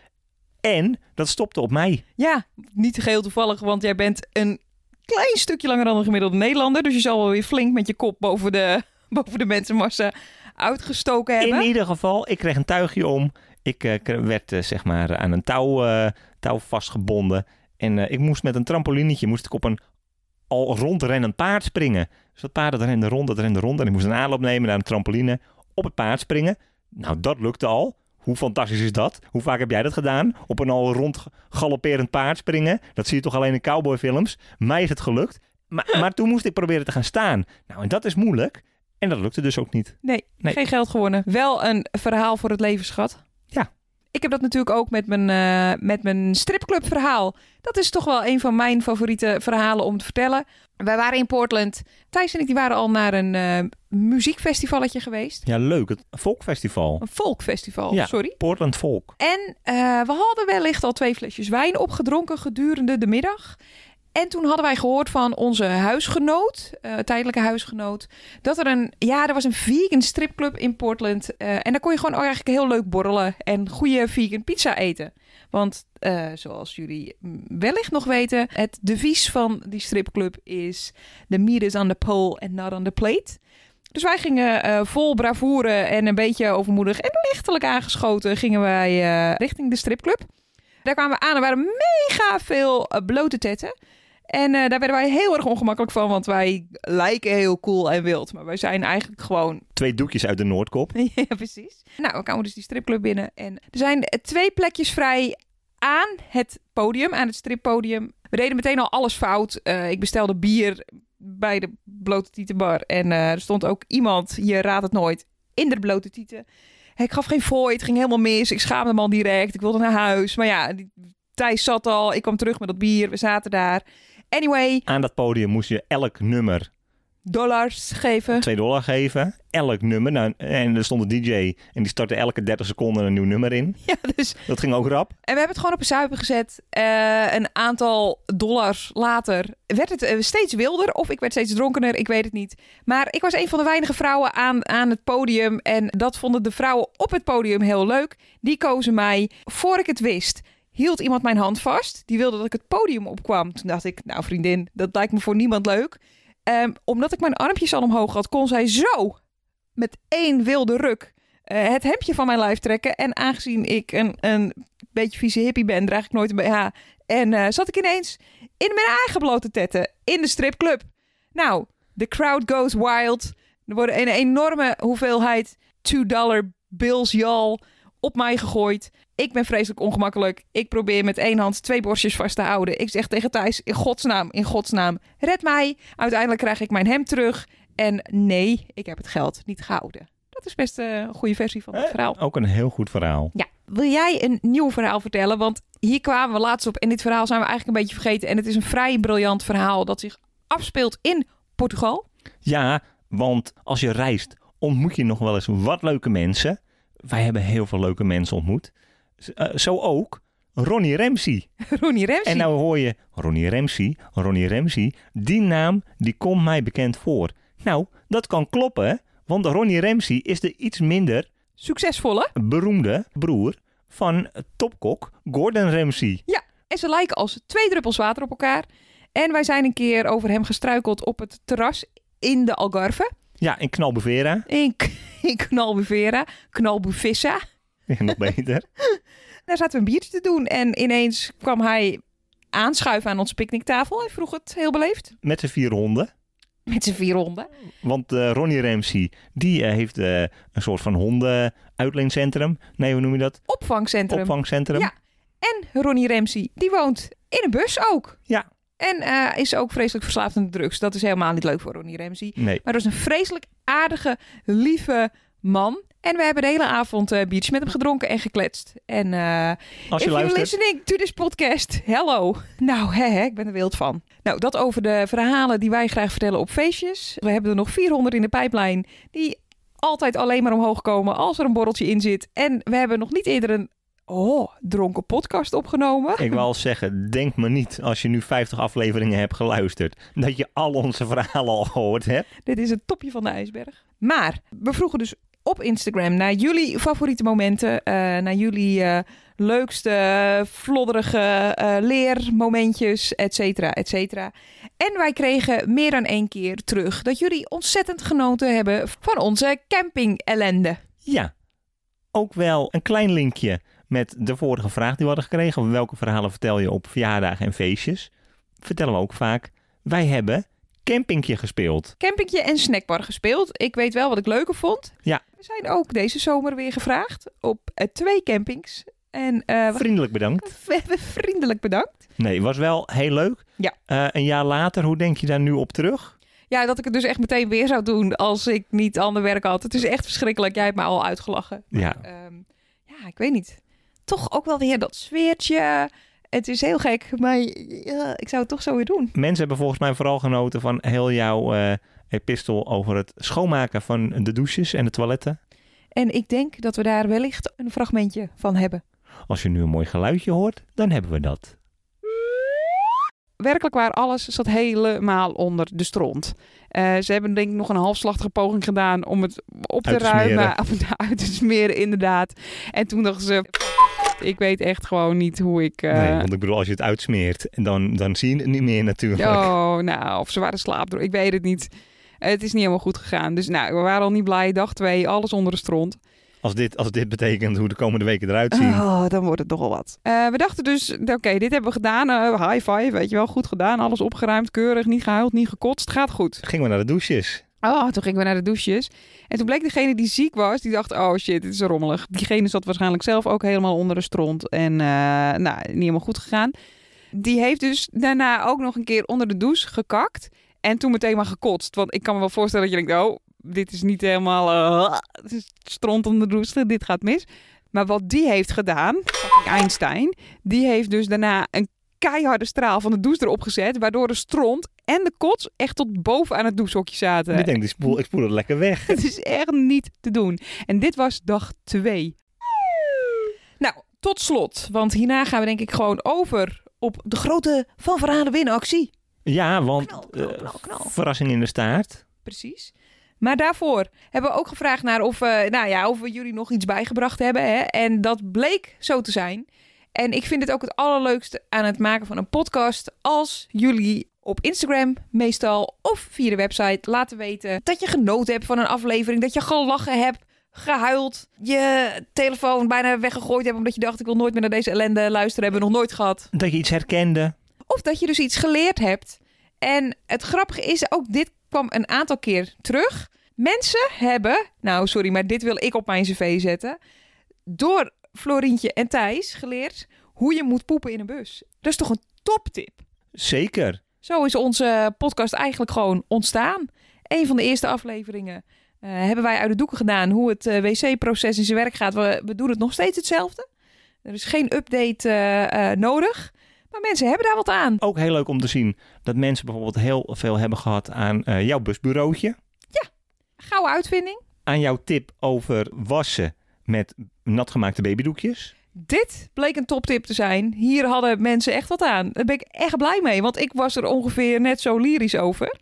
S2: En dat stopte op mij.
S1: Ja, niet geheel toevallig, want jij bent een klein stukje langer dan een gemiddelde Nederlander. Dus je zal wel weer flink met je kop boven de, boven de mensenmassa uitgestoken hebben.
S2: In ieder geval, ik kreeg een tuigje om. Ik eh, kre- werd eh, zeg maar aan een touw, eh, touw vastgebonden. En eh, ik moest met een trampolinetje moest ik op een al rondrennend paard springen. Dus dat paard dat rende rond, dat rende rond. En ik moest een aanloop nemen naar een trampoline. Op het paard springen. Nou, dat lukte al. Hoe fantastisch is dat? Hoe vaak heb jij dat gedaan? Op een al rond galopperend paard springen. Dat zie je toch alleen in cowboyfilms. Mij is het gelukt. Maar, maar toen moest ik proberen te gaan staan. Nou, en dat is moeilijk. En dat lukte dus ook niet.
S1: Nee,
S2: Nee.
S1: geen geld gewonnen. Wel een verhaal voor het leven, schat.
S2: Ja.
S1: Ik heb dat natuurlijk ook met mijn, eh, met mijn stripclub verhaal. Dat is toch wel een van mijn favoriete verhalen om te vertellen. Wij waren in Portland. Thijs en ik die waren al naar een eh, muziekfestivalletje geweest.
S2: Ja, leuk. Het Volkfestival.
S1: Een folkfestival,
S2: Ja.
S1: sorry.
S2: Portland Volk.
S1: En eh, we hadden wellicht al twee flesjes wijn opgedronken gedurende de middag. En toen hadden wij gehoord van onze huisgenoot, eh, tijdelijke huisgenoot, dat er een, ja, er was een vegan stripclub in Portland. eh, en daar kon je gewoon eigenlijk heel leuk borrelen en goede vegan pizza eten. Want eh, zoals jullie mm, wellicht nog weten, het devies van die stripclub is: The meat is on the pole and not on the plate. Dus wij gingen eh, vol bravoure en een beetje overmoedig en lichtelijk aangeschoten gingen wij eh, richting de stripclub. Daar kwamen we aan en waren mega veel eh, blote tetten. En eh, daar werden wij heel erg ongemakkelijk van, want wij lijken heel cool en wild. Maar wij zijn eigenlijk gewoon
S2: Twee doekjes uit de Noordkop.
S1: ja, precies. Nou, we kwamen dus die stripclub binnen. En er zijn eh, twee plekjes vrij aan het podium, aan het strippodium. We deden meteen al alles fout. Eh, ik bestelde bier bij de blote tietenbar. En eh, er stond ook iemand, je raadt het nooit, in de blote tieten. Ik gaf geen fooi, het ging helemaal mis. Ik schaamde me al direct, ik wilde naar huis. Maar ja, die- Thijs zat al, ik kwam terug met dat bier, we zaten daar. Anyway,
S2: Aan dat podium moest je elk nummer
S1: dollars geven.
S2: 2 dollar geven. Elk nummer. Nou, en er stond een DJ en die startte elke 30 seconden een nieuw nummer in.
S1: Ja, dus.
S2: Dat ging ook rap.
S1: En we hebben het gewoon op een zuipen gezet. Eh, een aantal dollars later werd het eh, steeds wilder. Of ik werd steeds dronkener, ik weet het niet. Maar ik was een van de weinige vrouwen aan, aan het podium. En dat vonden de vrouwen op het podium heel leuk. Die kozen mij. Voor ik het wist, hield iemand mijn hand vast. Die wilde dat ik het podium opkwam. Toen dacht ik, nou vriendin, dat lijkt me voor niemand leuk. Ehm, omdat ik mijn armpjes al omhoog had, kon zij zo met één wilde ruk eh, het hemdje van mijn lijf trekken. En aangezien ik een, een beetje vieze hippie ben, draag ik nooit een BH. En eh, zat ik ineens in mijn eigen blote tetten in de stripclub. Nou, the crowd goes wild. Er worden een enorme hoeveelheid 2-dollar bills, y'all, op mij gegooid. Ik ben vreselijk ongemakkelijk. Ik probeer met één hand twee borstjes vast te houden. Ik zeg tegen Thijs, in godsnaam, in godsnaam, red mij. Uiteindelijk krijg ik mijn hemd terug. En nee, ik heb het geld niet gehouden. Dat is best eh, een goede versie van het
S2: Eh,
S1: verhaal.
S2: Ook een heel goed verhaal.
S1: Ja, wil jij een nieuw verhaal vertellen? Want hier kwamen we laatst op en dit verhaal zijn we eigenlijk een beetje vergeten. En het is een vrij briljant verhaal dat zich afspeelt in Portugal.
S2: Ja, want als je reist, ontmoet je nog wel eens wat leuke mensen. Wij hebben heel veel leuke mensen ontmoet. Z- eh, zo ook Ronnie Ramsey.
S1: Ronnie Ramsey.
S2: En nou hoor je Ronnie Ramsey, Ronnie Ramsey. Die naam, die komt mij bekend voor. Nou, dat kan kloppen, want Ronnie Ramsey is de iets minder
S1: Succesvolle.
S2: beroemde broer van topkok Gordon Ramsay.
S1: En ze lijken als twee druppels water op elkaar. En wij zijn een keer over hem gestruikeld op het terras in de Algarve.
S2: Ja, in Knalbevera.
S1: In, K- in Knalbuvera. Knalbuvissa.
S2: Nog beter.
S1: Daar zaten we een biertje te doen. En ineens kwam hij aanschuiven aan onze picknicktafel. En vroeg het heel beleefd.
S2: Met zijn vier honden.
S1: Met zijn vier honden.
S2: Want eh, Ronnie Ramsay, die eh, heeft eh, een soort van honden-uitleencentrum. Nee, hoe noem je dat?
S1: Opvangcentrum.
S2: Opvangcentrum.
S1: Ja. En Ronnie Ramsey, die woont in een bus ook.
S2: Ja.
S1: En eh, is ook vreselijk verslaafd aan drugs. Dat is helemaal niet leuk voor Ronnie Ramsey.
S2: Nee,
S1: Maar dat is een vreselijk aardige, lieve man. En we hebben de hele avond eh biertjes met hem gedronken en gekletst. En eh,
S2: als je
S1: if you're
S2: luistert.
S1: listening to this podcast, hello. Nou, hè, hè, ik ben er wild van. Nou, dat over de verhalen die wij graag vertellen op feestjes. We hebben er nog 400 in de pijplijn die altijd alleen maar omhoog komen als er een borreltje in zit. En we hebben nog niet eerder een, oh, dronken podcast opgenomen.
S2: Ik wil zeggen, denk me niet als je nu 50 afleveringen hebt geluisterd. dat je al onze verhalen al gehoord hebt.
S1: Dit is het topje van de ijsberg. Maar we vroegen dus op Instagram naar jullie favoriete momenten, eh, naar jullie eh, leukste, flodderige eh, leermomentjes, et cetera, et cetera. En wij kregen meer dan één keer terug dat jullie ontzettend genoten hebben van onze camping-ellende.
S2: Ja, ook wel een klein linkje met de vorige vraag die we hadden gekregen. Welke verhalen vertel je op verjaardagen en feestjes? Vertellen we ook vaak. Wij hebben campingje gespeeld.
S1: Campingje en snackbar gespeeld. Ik weet wel wat ik leuker vond.
S2: Ja.
S1: We zijn ook deze zomer weer gevraagd op eh, twee campings. En eh, we-
S2: Vriendelijk bedankt.
S1: we hebben vriendelijk bedankt.
S2: Nee, was wel heel leuk.
S1: Ja.
S2: Eh, een jaar later, hoe denk je daar nu op terug?
S1: Ja, dat ik het dus echt meteen weer zou doen als ik niet ander werk had. Het is echt verschrikkelijk. Jij hebt me al uitgelachen.
S2: Ja.
S1: Ehm, ja, ik weet niet. Toch ook wel weer dat sfeertje. Het is heel gek, maar ja, ik zou het toch zo weer doen.
S2: Mensen hebben volgens mij vooral genoten van heel jouw eh, epistel over het schoonmaken van de douches en de toiletten.
S1: En ik denk dat we daar wellicht een fragmentje van hebben.
S2: Als je nu een mooi geluidje hoort, dan hebben we dat.
S3: werkelijk waar alles zat helemaal onder de stront. Eh, ze hebben denk ik nog een halfslachtige poging gedaan om het op te,
S2: Uit te
S3: ruimen,
S2: smeren.
S3: om het uit te smeren inderdaad. En toen dachten ze, ik weet echt gewoon niet hoe ik... eh,
S2: Nee, want ik bedoel, als je het uitsmeert, dan, dan zie je het niet meer natuurlijk.
S3: Oh, nou, of ze waren slaapdronken. Ik weet het niet. Het is niet helemaal goed gegaan. Dus nou, we waren al niet blij. Dag twee, alles onder de stront.
S2: Als, dit, als dit betekent hoe de komende weken eruit zien.
S3: Oh, dan wordt het nogal wat. Eh, we dachten dus, oké, dit hebben we gedaan. Eh, high five, weet je wel, goed gedaan. Alles opgeruimd, keurig, niet gehuild, niet gekotst. Gaat goed.
S2: Gingen we naar de douches.
S3: Oh, toen gingen we naar de douches. En toen bleek degene die ziek was, die dacht, oh shit, dit is rommelig. Diegene zat waarschijnlijk zelf ook helemaal onder de stront. En eh, nou, niet helemaal goed gegaan. Die heeft dus daarna ook nog een keer onder de douche gekakt. En toen meteen maar gekotst. Want ik kan me wel voorstellen dat je denkt, oh, dit is niet helemaal eh, het is stront onder de douche, dit gaat mis. Maar wat die heeft gedaan, fucking Einstein, die heeft dus daarna een keiharde straal van de douche erop gezet, waardoor de stront en de kots echt tot boven aan het douchehokje zaten.
S2: Ik denk, die spoel, ik spoel het lekker weg.
S3: Het is echt niet te doen. En dit was dag twee.
S1: Nou, tot slot. Want hierna gaan we denk ik gewoon over op de grote Van Verhalen winactie.
S2: Ja, want
S1: Knal, knal,
S2: eh,
S1: knal, knal.
S2: verrassing in de staart.
S1: Precies. Maar daarvoor hebben we ook gevraagd naar of, eh, nou ja, of we jullie nog iets bijgebracht hebben. Hè? En dat bleek zo te zijn. En ik vind het ook het allerleukste aan het maken van een podcast. Als jullie op Instagram meestal of via de website laten weten dat je genoten hebt van een aflevering. Dat je gelachen hebt, gehuild, je telefoon bijna weggegooid hebt. Omdat je dacht ik wil nooit meer naar deze ellende luisteren. Hebben we nog nooit gehad.
S2: Dat je iets herkende.
S1: Of dat je dus iets geleerd hebt. En het grappige is, ook dit kwam een aantal keer terug. Mensen hebben, nou sorry, maar dit wil ik op mijn cv zetten. Door Florientje en Thijs geleerd hoe je moet poepen in een bus. Dat is toch een toptip?
S2: Zeker.
S1: Zo is onze podcast eigenlijk gewoon ontstaan. Een van de eerste afleveringen eh, hebben wij uit de doeken gedaan hoe het eh, wc-proces in zijn werk gaat. We, we doen het nog steeds hetzelfde. Er is geen update eh, eh, nodig. Maar mensen hebben daar wat aan.
S2: Ook heel leuk om te zien dat mensen bijvoorbeeld heel veel hebben gehad aan eh, jouw busbureautje.
S1: Gouden uitvinding.
S2: Aan jouw tip over wassen met natgemaakte babydoekjes.
S1: Dit bleek een toptip te zijn. Hier hadden mensen echt wat aan. Daar ben ik echt blij mee, want ik was er ongeveer net zo lyrisch over.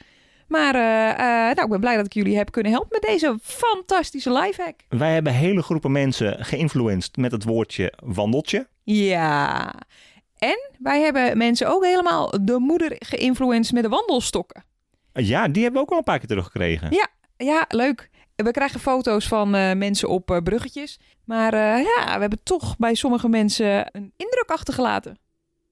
S1: Maar eh, eh, nou, ik ben blij dat ik jullie heb kunnen helpen met deze fantastische lifehack.
S2: Wij hebben hele groepen mensen geïnfluenced met het woordje wandeltje.
S1: Ja. En wij hebben mensen ook helemaal de moeder geïnfluenced met de wandelstokken.
S2: Eh, Ja, die hebben we ook al een paar keer teruggekregen.
S1: Ja, leuk. We krijgen foto's van eh, mensen op eh, bruggetjes. Maar eh, ja, we hebben toch bij sommige mensen een indruk achtergelaten.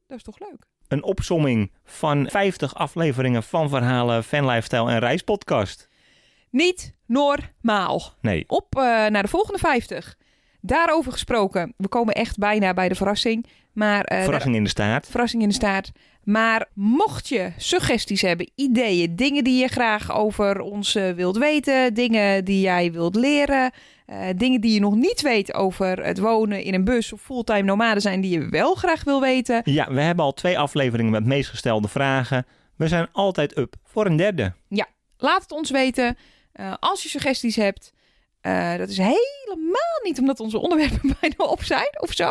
S1: Dat is toch leuk?
S2: Een opsomming van 50 afleveringen van verhalen, fanlifestyle en reispodcast.
S1: Niet normaal.
S2: Nee,
S1: Op eh, naar de volgende 50. Daarover gesproken. We komen echt bijna bij de verrassing. Maar, eh, daar-
S2: verrassing in de staart.
S1: verrassing in de staart. Maar mocht je suggesties hebben, ideeën, dingen die je graag over ons eh, wilt weten, dingen die jij wilt leren, eh, dingen die je nog niet weet over het wonen in een bus of fulltime nomaden zijn die je wel graag wil weten,
S2: Ja, we hebben al twee afleveringen met meest gestelde vragen. We zijn altijd up voor een derde.
S1: laat het ons weten. Eh, als je suggesties hebt, eh, dat is helemaal niet omdat onze onderwerpen bijna op zijn of zo.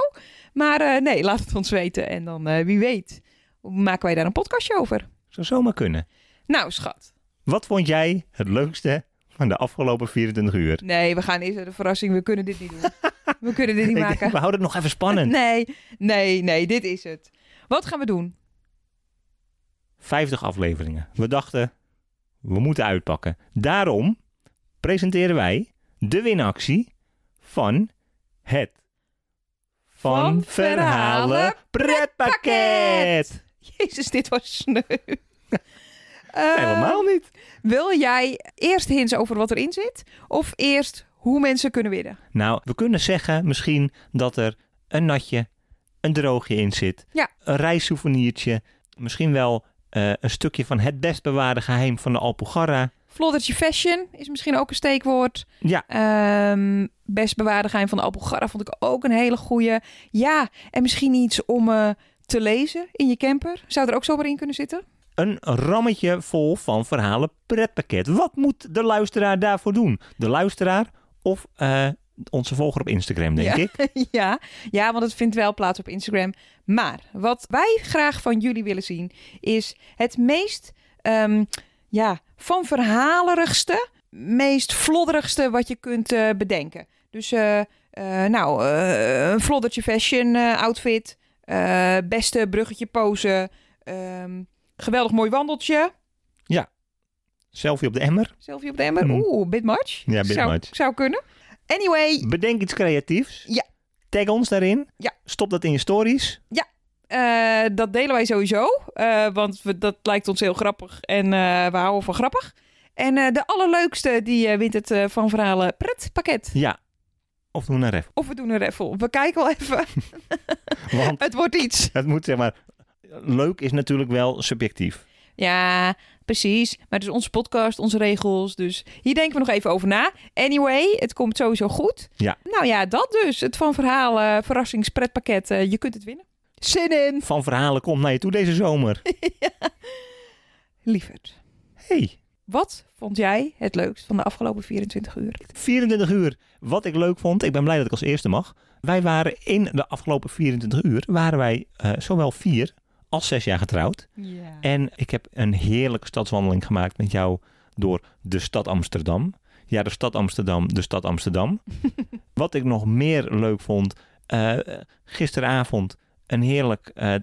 S1: Maar eh, nee, laat het ons weten. En dan eh, wie weet, maken wij daar een podcastje over.
S2: Zou zomaar kunnen.
S1: Nou, schat.
S2: Wat vond jij het leukste van de afgelopen 24 uur?
S1: Nee, we gaan eerst naar de verrassing. We kunnen dit niet doen. We kunnen dit niet
S2: Ik denk,
S1: maken.
S2: we houden het nog even spannend.
S1: Nee, nee, nee, dit is het. Wat gaan we doen?
S2: 50 afleveringen. We dachten, we moeten uitpakken. Daarom presenteren wij de winactie van het Van,
S1: Van
S2: Verhalen
S1: Verhalen
S2: Pretpakket.
S1: Jezus, dit was sneu. Eh,
S2: Helemaal niet.
S1: Wil jij eerst hints over wat erin zit? Of eerst hoe mensen kunnen winnen?
S2: Nou, we kunnen zeggen misschien dat er een natje, een droogje in zit.
S1: Ja.
S2: Een reissouveniertje. Misschien wel eh, een stukje van het best bewaarde geheim van de Alpugarra.
S1: Floddertje fashion is misschien ook een steekwoord.
S2: Ja.
S1: Ehm, best bewaarde geheim van de Alpugarra vond ik ook een hele goeie. Ja, en misschien iets om eh, te lezen in je camper. Zou er ook zomaar in kunnen zitten?
S2: Een rammetje vol van verhalen pretpakket. Wat moet de luisteraar daarvoor doen? De luisteraar of eh, onze volger op Instagram, denk ik.
S1: ja. ja, want het vindt wel plaats op Instagram. Maar wat wij graag van jullie willen zien... is het meest ehm, ja, van verhalerigste... meest flodderigste wat je kunt eh, bedenken. Dus eh, eh, nou, eh, een floddertje fashion eh, outfit... eh, beste bruggetje pose... ehm, geweldig mooi wandeltje...
S2: Selfie op de emmer.
S1: Selfie op de emmer.
S2: Mm.
S1: Oeh, bit much.
S2: Ja, bit
S1: zou,
S2: much.
S1: Zou kunnen. Anyway,
S2: Bedenk iets creatiefs.
S1: Ja.
S2: Tag ons daarin.
S1: Ja.
S2: Stop dat in je stories.
S1: Eh, dat delen wij sowieso, eh, want we, dat lijkt ons heel grappig en eh, we houden van grappig. En eh, de allerleukste die eh, wint het eh, Van Verhalen pretpakket.
S2: Ja. Of doe een ref.
S1: Of we doen een raffle. We kijken wel even.
S2: Want
S1: het wordt iets.
S2: het moet zeg maar... Leuk is natuurlijk wel subjectief.
S1: Ja, precies. Maar het is onze podcast, onze regels. Dus hier denken we nog even over na. Anyway, het komt sowieso goed.
S2: Ja.
S1: Nou ja, dat dus. Het Van Verhalen verrassingspretpakket. eh, je kunt het winnen.
S3: Zin in.
S2: van verhalen komt naar je toe deze zomer.
S3: Lieverd,
S2: hey,
S3: wat vond jij het leukst van de afgelopen 24 uur?
S2: 24 uur. Wat ik leuk vond, ik ben blij dat ik als eerste mag. Wij waren in de afgelopen 24 uur, waren wij eh, zowel vier als zes jaar getrouwd.
S4: Ja.
S2: En ik heb een heerlijke stadswandeling gemaakt met jou door de stad Amsterdam. Ja, de stad Amsterdam, de stad Amsterdam. Wat ik nog meer leuk vond, eh, gisteravond een heerlijk eh,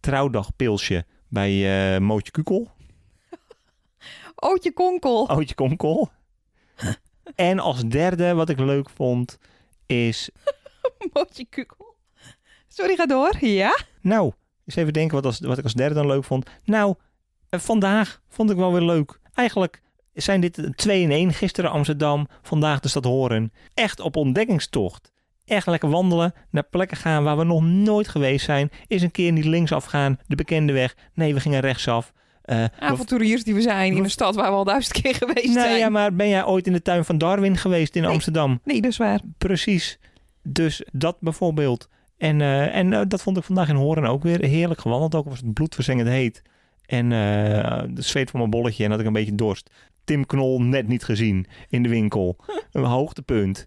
S2: trouwdagpilsje bij eh Mootje Kukel.
S3: Ootje Konkel.
S2: Oudje Komkool. en als derde, wat ik leuk vond, is...
S3: Mootje Kukel. Sorry, ga door. Ja?
S2: Nou, eens even denken wat, als, wat ik als derde dan leuk vond. Nou, eh, vandaag vond ik wel weer leuk. Eigenlijk zijn dit de twee in één. Gisteren Amsterdam, vandaag de stad Horen. Echt op ontdekkingstocht. Echt lekker wandelen, naar plekken gaan waar we nog nooit geweest zijn. Is een keer niet linksaf gaan, de bekende weg. Nee, we gingen rechtsaf. Eh,
S3: Ah,
S2: we
S3: Avonturiers die we zijn in een stad waar we al duizend keer geweest zijn.
S2: nou ja, maar ben jij ooit in de tuin van Darwin geweest in
S3: Nee.
S2: Amsterdam?
S3: Nee, dat is waar.
S2: Precies. Dus dat bijvoorbeeld. En, eh, en eh, dat vond ik vandaag in Horen ook weer heerlijk gewandeld. Ook al was het bloedverzengend heet. En eh de zweet van mijn bolletje en had ik een beetje dorst. Tim Knol net niet gezien in de winkel. Een hoogtepunt.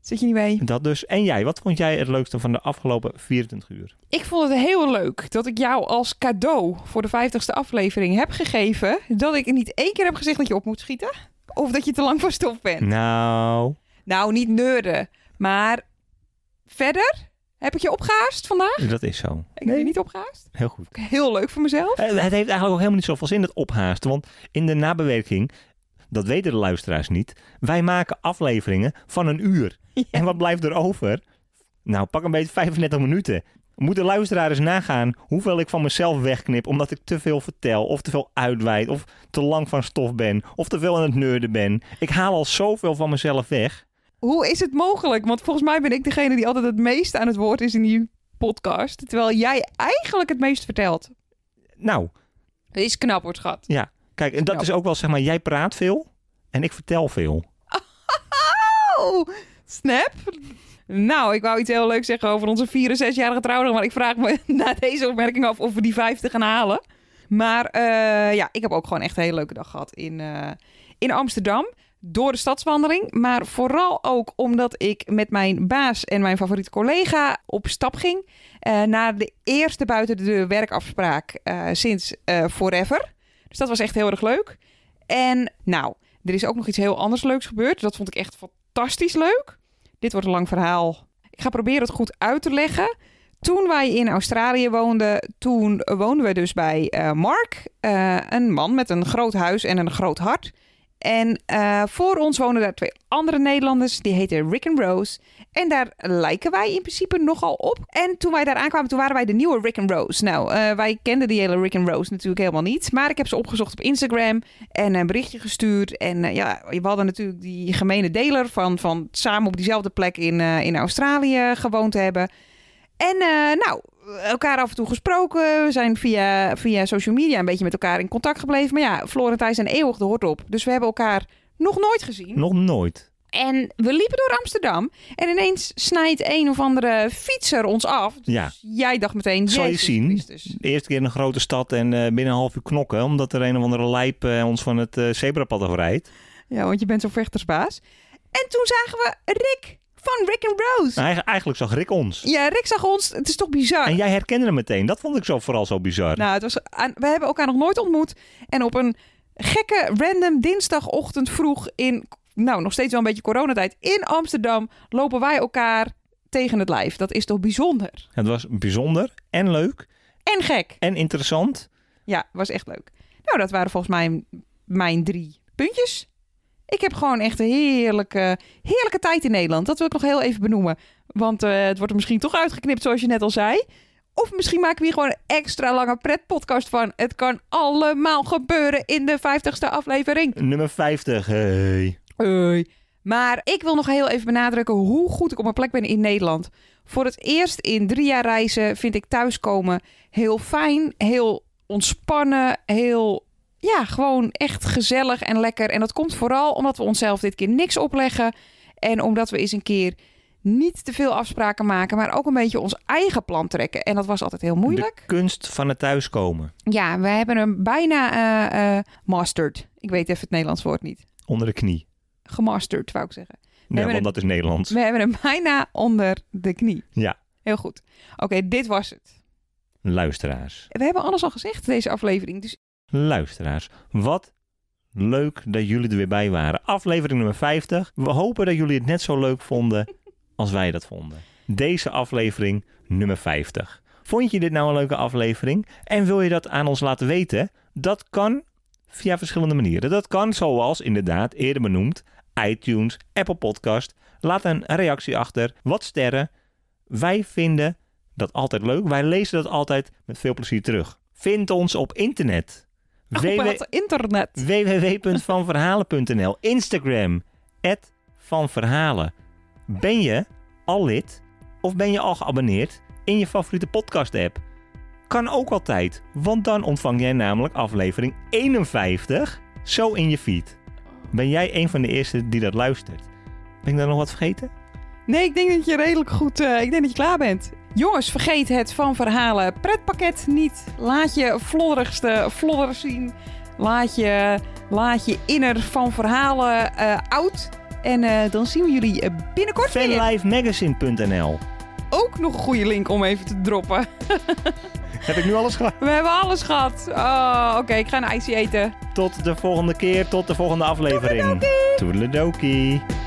S3: Zit je niet mee?
S2: Dat dus. En jij, wat vond jij het leukste van de afgelopen 24 uur?
S3: Ik vond het heel leuk dat ik jou als cadeau voor de 50ste aflevering heb gegeven. Dat ik niet één keer heb gezegd dat je op moet schieten. Of dat je te lang van stof bent.
S2: Nou,
S3: Nou, niet neuren. Maar verder heb ik je opgehaast vandaag.
S2: dat is zo.
S3: Ik ben je niet opgehaast.
S2: Heel goed.
S3: Heel leuk voor mezelf.
S2: Eh, Het heeft eigenlijk ook helemaal niet zoveel zin dat ophaasten. Want in de nabewerking, dat weten de luisteraars niet, wij maken afleveringen van een uur. En wat blijft er over? Nou, pak een beetje 35 minuten. Moeten luisteraars nagaan hoeveel ik van mezelf wegknip omdat ik te veel vertel of te veel uitweid of te lang van stof ben of te veel aan het neurden ben. Ik haal al zoveel van mezelf weg.
S3: Hoe is het mogelijk? Want volgens mij ben ik degene die altijd het meest aan het woord is in die podcast. Terwijl jij eigenlijk het meest vertelt.
S2: Nou,
S3: Dat is knap, hoor, schat.
S2: kijk, en dat
S3: Nou.
S2: is ook wel zeg maar, jij praat veel en ik vertel veel.
S3: Oh, snap. Nou, ik wou iets heel leuks zeggen over onze 64-jarige trouwdag. Maar ik vraag me na deze opmerking af of we die 50 gaan halen. Maar eh, ja, ik heb ook gewoon echt een hele leuke dag gehad in, eh, in Amsterdam. Door de stadswandeling. Maar vooral ook omdat ik met mijn baas en mijn favoriete collega op stap ging. eh, naar de eerste buiten de werkafspraak eh, sinds eh, forever. Dus dat was echt heel erg leuk. En nou, er is ook nog iets heel anders leuks gebeurd. Dat vond ik echt fantastisch leuk. Dit wordt een lang verhaal. Ik ga proberen het goed uit te leggen. Toen wij in Australië woonden, toen woonden we dus bij eh, Mark. eh, een man met een groot huis en een groot hart. En eh, voor ons wonen daar twee andere Nederlanders. Die heten Rick en Rose. En daar lijken wij in principe nogal op. En toen wij daar aankwamen, toen waren wij de nieuwe Rick en Rose. Nou, eh, wij kenden die hele Rick en Rose natuurlijk helemaal niet. Maar ik heb ze opgezocht op Instagram en een berichtje gestuurd. En eh, ja, we hadden natuurlijk die gemene deler van, van samen op diezelfde plek in, eh, in Australië gewoond hebben. En eh, nou, elkaar af en toe gesproken. We zijn via, via social media een beetje met elkaar in contact gebleven. Maar ja, Florentijn zijn eeuwig de hort op. Dus we hebben elkaar nog nooit gezien.
S2: Nog nooit.
S3: En we liepen door Amsterdam. En ineens snijdt een of andere fietser ons af. Dus
S2: Ja.
S3: jij dacht meteen,
S2: Zal je
S3: Jezus
S2: zien.
S3: Christus.
S2: De eerste keer in een grote stad en eh, binnen een half uur knokken. Omdat er een of andere lijp eh, ons van het eh, zebrapad afrijdt.
S3: Ja, want je bent zo'n vechtersbaas. En toen zagen we Rick van Rick and Rose.
S2: Nou, eigen- eigenlijk zag Rick ons.
S3: Ja, Rick zag ons. Het is toch bizar?
S2: En jij herkende hem meteen. Dat vond ik zo vooral zo bizar.
S3: Nou, het was aan- we hebben elkaar nog nooit ontmoet. En op een gekke, random dinsdagochtend vroeg in... Nou, nog steeds wel een beetje coronatijd. In Amsterdam lopen wij elkaar tegen het lijf. Dat is toch bijzonder?
S2: Het was bijzonder en leuk
S3: En gek.
S2: en interessant.
S3: Ja, was echt leuk. Nou, dat waren volgens mij m- mijn drie puntjes. Ik heb gewoon echt een heerlijke, heerlijke tijd in Nederland. Dat wil ik nog heel even benoemen. Want eh, het wordt er misschien toch uitgeknipt, zoals je net al zei. Of misschien maken we hier gewoon een extra lange pretpodcast van. Het kan allemaal gebeuren in de 50ste aflevering.
S2: Nummer eh, 50. Hey.
S3: Hey. Maar ik wil nog heel even benadrukken hoe goed ik op mijn plek ben in Nederland. Voor het eerst in drie jaar reizen vind ik thuiskomen heel fijn, heel ontspannen, heel ja, gewoon echt gezellig en lekker. En dat komt vooral omdat we onszelf dit keer niks opleggen en omdat we eens een keer niet te veel afspraken maken, maar ook een beetje ons eigen plan trekken. En dat was altijd heel moeilijk.
S2: De kunst van het thuiskomen.
S3: Ja, we hebben hem bijna eh, eh, mastered. Ik weet even het Nederlands woord niet.
S2: Onder de knie.
S3: Gemasterd, wou ik zeggen.
S2: Nee,
S3: hebben
S2: want dat is Nederlands.
S3: We hebben hem bijna onder de knie.
S2: Ja.
S3: Heel goed. Oké, dit was het.
S2: Luisteraars.
S3: We hebben alles al gezegd deze aflevering. Dus
S2: Luisteraars. Wat leuk dat jullie er weer bij waren. Aflevering nummer 50. We hopen dat jullie het net zo leuk vonden als wij dat vonden. Deze aflevering nummer 50. Vond je dit nou een leuke aflevering? En wil je dat aan ons laten weten? Dat kan via verschillende manieren. Dat kan zoals inderdaad eerder benoemd. iTunes, Apple Podcast. Laat een reactie achter. Wat sterren. Wij vinden dat altijd leuk. Wij lezen dat altijd met veel plezier terug. Vind ons op internet.
S3: op
S2: www
S3: het internet.
S2: www.vanverhalen.nl Instagram, vanverhalen. Ben je al lid of ben je al geabonneerd in je favoriete podcast app? Kan ook altijd, want dan ontvang jij namelijk aflevering 51 zo in je feed. Ben jij een van de eerste die dat luistert? Ben ik daar nog wat vergeten?
S3: Nee, ik denk dat je redelijk goed. eh, ik denk dat je klaar bent. Jongens, vergeet het van verhalen pretpakket niet. Laat je flodderigste flodder zien. Laat je, laat je inner van verhalen eh, oud. En eh, dan zien we jullie eh, binnenkort weer.
S2: Fanlifemagazine.nl
S3: Ook nog een goede link om even te droppen.
S2: Heb ik nu alles gehad?
S3: We hebben alles gehad. Oh, Oké, ik ga een ijsje eten.
S2: Tot de volgende keer, tot de volgende aflevering. Toedeledokie!